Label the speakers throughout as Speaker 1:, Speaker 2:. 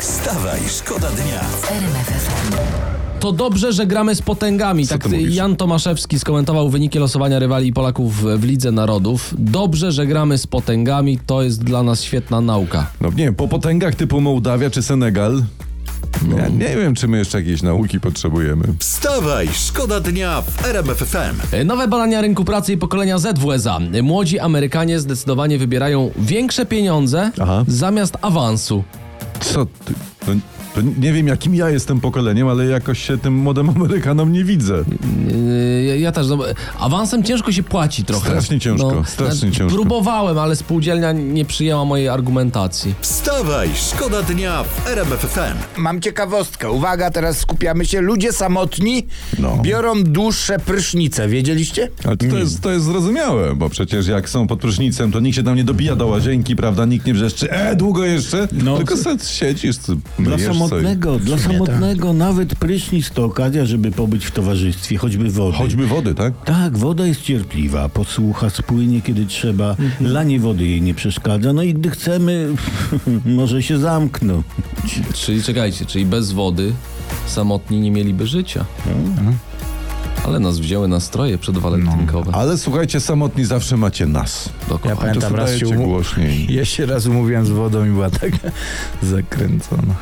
Speaker 1: Wstawaj, szkoda dnia.
Speaker 2: To dobrze, że gramy z potęgami. tak
Speaker 3: ty mówisz?
Speaker 2: Jan Tomaszewski skomentował wyniki losowania rywali Polaków w Lidze Narodów. Dobrze, że gramy z potęgami, to jest dla nas świetna nauka.
Speaker 3: No nie, po potęgach typu Mołdawia czy Senegal.
Speaker 4: No.
Speaker 3: Ja nie wiem, czy my jeszcze jakiejś nauki potrzebujemy.
Speaker 1: Wstawaj, szkoda dnia w RMF FM.
Speaker 2: E, Nowe badania rynku pracy i pokolenia Z w USA. Młodzi Amerykanie zdecydowanie wybierają większe pieniądze
Speaker 3: Aha.
Speaker 2: zamiast awansu.
Speaker 3: Co ty? No, to nie wiem, jakim ja jestem pokoleniem, ale jakoś się tym młodym Amerykanom nie widzę.
Speaker 2: Yy, ja- ja też. No, bo awansem ciężko się płaci trochę.
Speaker 3: Strasznie ciężko, strasznie
Speaker 2: ja
Speaker 3: ciężko.
Speaker 2: Próbowałem, ale spółdzielnia nie przyjęła mojej argumentacji.
Speaker 1: Wstawaj, szkoda dnia w RMF FM.
Speaker 5: Mam ciekawostkę. Uwaga, teraz skupiamy się. Ludzie samotni biorą dłuższe prysznice. Wiedzieliście?
Speaker 3: Ale to, to, jest, to jest zrozumiałe, bo przecież jak są pod prysznicem, to nikt się tam nie dobija do łazienki, prawda? Nikt nie wrzeszczy, e, długo jeszcze?
Speaker 4: No.
Speaker 3: Tylko se siedzisz, ty
Speaker 4: Dla
Speaker 3: myjesz sobie.
Speaker 4: samotnego, dla samotnego nawet prysznic to okazja, żeby pobyć w towarzystwie, choćby wody.
Speaker 3: Choćby wody, tak?
Speaker 4: Tak, woda jest cierpliwa, posłucha, spłynie kiedy trzeba, lanie wody jej nie przeszkadza, no i gdy chcemy, może się zamknąć.
Speaker 2: Czyli czekajcie, czyli bez wody samotni nie mieliby życia.
Speaker 3: Mhm.
Speaker 2: Ale nas wzięły nastroje przedwalentynkowe.
Speaker 3: Ale słuchajcie, samotni zawsze macie nas.
Speaker 2: Dokładnie.
Speaker 3: To
Speaker 5: Pamiętam, raz
Speaker 3: wydajecie
Speaker 5: się umu-
Speaker 3: głośniej.
Speaker 5: Ja się raz umówiłem z wodą i była tak zakręcona.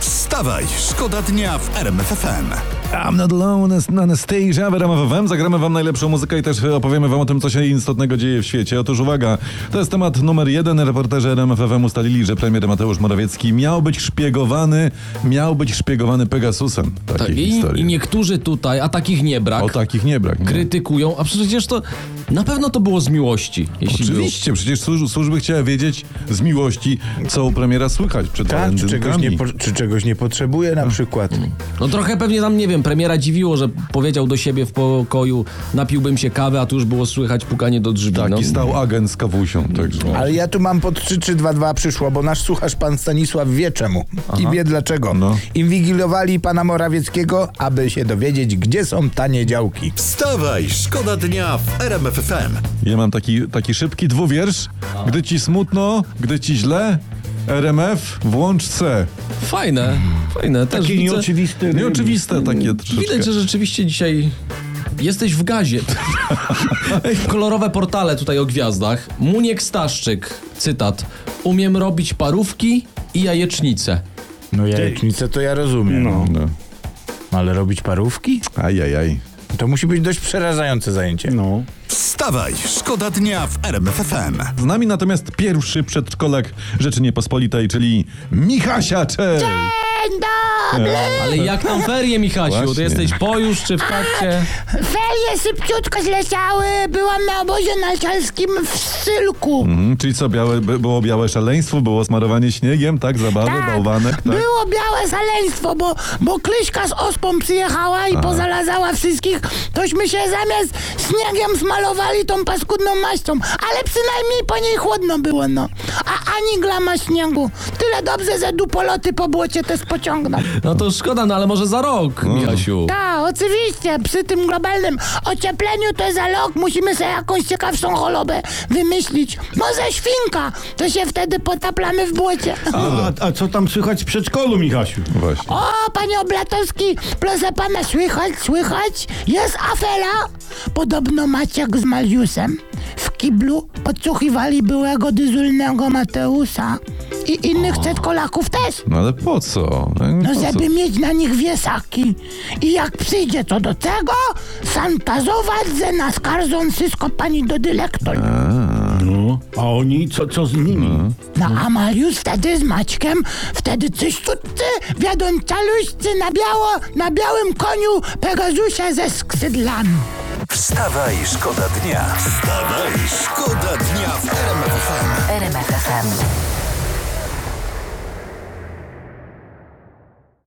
Speaker 1: Wstawaj, szkoda dnia w RMF FM.
Speaker 3: I'm not alone as- na Anastasia, wyramy wam, zagramy wam najlepszą muzykę i też opowiemy wam o tym, co się istotnego dzieje w świecie. Otóż uwaga, to jest temat numer jeden. Reporterzy RMFFM ustalili, że premier Mateusz Morawiecki miał być szpiegowany, miał być szpiegowany Pegasusem. Takie
Speaker 2: Tak, i,
Speaker 3: historie.
Speaker 2: I niektórzy tutaj, a takich nie brak,
Speaker 3: O tak. takich nie brak. nie?
Speaker 2: krytykują, a przecież to na pewno to było z miłości. Jeśli
Speaker 3: Oczywiście, przecież służ- służby chciały wiedzieć z miłości, co u premiera słychać przed
Speaker 5: Tak, czy czegoś,
Speaker 3: walentynkami.
Speaker 5: nie po, czy czegoś nie potrzebuje na przykład.
Speaker 2: Było. No trochę pewnie tam, nie wiem, premiera dziwiło, że powiedział do siebie w pokoju napiłbym się kawy, a tu już było słychać pukanie do drzwi.
Speaker 3: Taki
Speaker 2: no.
Speaker 3: stał agent z kawusią. tak Także.
Speaker 5: Ale ja tu mam pod 3-3-2-2 przyszło, bo nasz słuchacz pan Stanisław wie czemu i wie dlaczego.
Speaker 3: No.
Speaker 5: Inwigilowali pana Morawieckiego, aby się dowiedzieć, gdzie są tanie działki.
Speaker 1: Wstawaj, szkoda dnia w RMF FM.
Speaker 3: Ja mam taki, taki szybki dwuwiersz. Gdy ci smutno, gdy ci źle, RMF włącz C.
Speaker 2: Fajne, fajne. Też
Speaker 4: Taki
Speaker 2: widzę,
Speaker 4: nieoczywisty
Speaker 3: Nieoczywiste takie troszeczkę.
Speaker 2: Widać, że rzeczywiście dzisiaj jesteś w gazie. Kolorowe portale tutaj o gwiazdach. Muniek Staszczyk, cytat. Umiem robić parówki i jajecznice.
Speaker 5: No jajecznicę to ja rozumiem, no.
Speaker 3: No.
Speaker 5: ale robić parówki?
Speaker 3: Ajajaj.
Speaker 5: To musi być dość przerażające zajęcie.
Speaker 4: No.
Speaker 1: Wstawaj, szkoda dnia w RMF FM.
Speaker 3: Z nami natomiast pierwszy przedszkolak Rzeczy Niepospolitej, czyli Michasia, cześć!
Speaker 6: Dzień dobry!
Speaker 3: E,
Speaker 2: Ale jak tam ferie, Michasiu? Ty
Speaker 3: Właśnie.
Speaker 2: jesteś po już czy w trakcie?
Speaker 6: Ferie szybciutko zleciały, byłam na obozie narciarskim w Sylku.
Speaker 3: Mhm, czyli co, białe, by- było białe szaleństwo, było smarowanie śniegiem, tak? Zabawy, bałwanek, tak?
Speaker 6: Było białe szaleństwo, bo, bo Kryśka z ospą przyjechała i pozalazała wszystkich. Tośmy się zamiast śniegiem smalowali tą paskudną maścią, ale przynajmniej po niej chłodno było, no. A ani glama śniegu. Tyle dobrze, że dupoloty po błocie też pociągną.
Speaker 2: No to szkoda, no ale może za rok, Michasiu.
Speaker 6: Tak, oczywiście, przy tym globalnym ociepleniu to za rok musimy sobie jakąś ciekawszą chorobę wymyślić. Może świnka, to się wtedy potaplamy w błocie.
Speaker 4: A, a co tam słychać w przedszkolu, Michasiu?
Speaker 3: Właśnie.
Speaker 6: O, panie Oblatowski, proszę pana, słychać, słychać, jest afera. Podobno Maciek z Mariusem w kiblu podsłuchiwali byłego dyzulnego Mateusza i innych przedkolaków też.
Speaker 3: No ale po co?
Speaker 6: No,
Speaker 3: po co?
Speaker 6: żeby mieć na nich wiesaki. I jak przyjdzie co do tego, santazować, że nas karzą wszystko pani do dyrektor.
Speaker 4: No. A oni, co, co z nimi?
Speaker 6: No a Mariusz wtedy z Maćkiem, wtedy czyściutcy, wiadomo caluścy na biało, na białym koniu Pegazusia ze skrzydlami.
Speaker 1: Wstawaj, szkoda dnia. Wstawaj, szkoda dnia w RMF FM.
Speaker 7: RMFFM.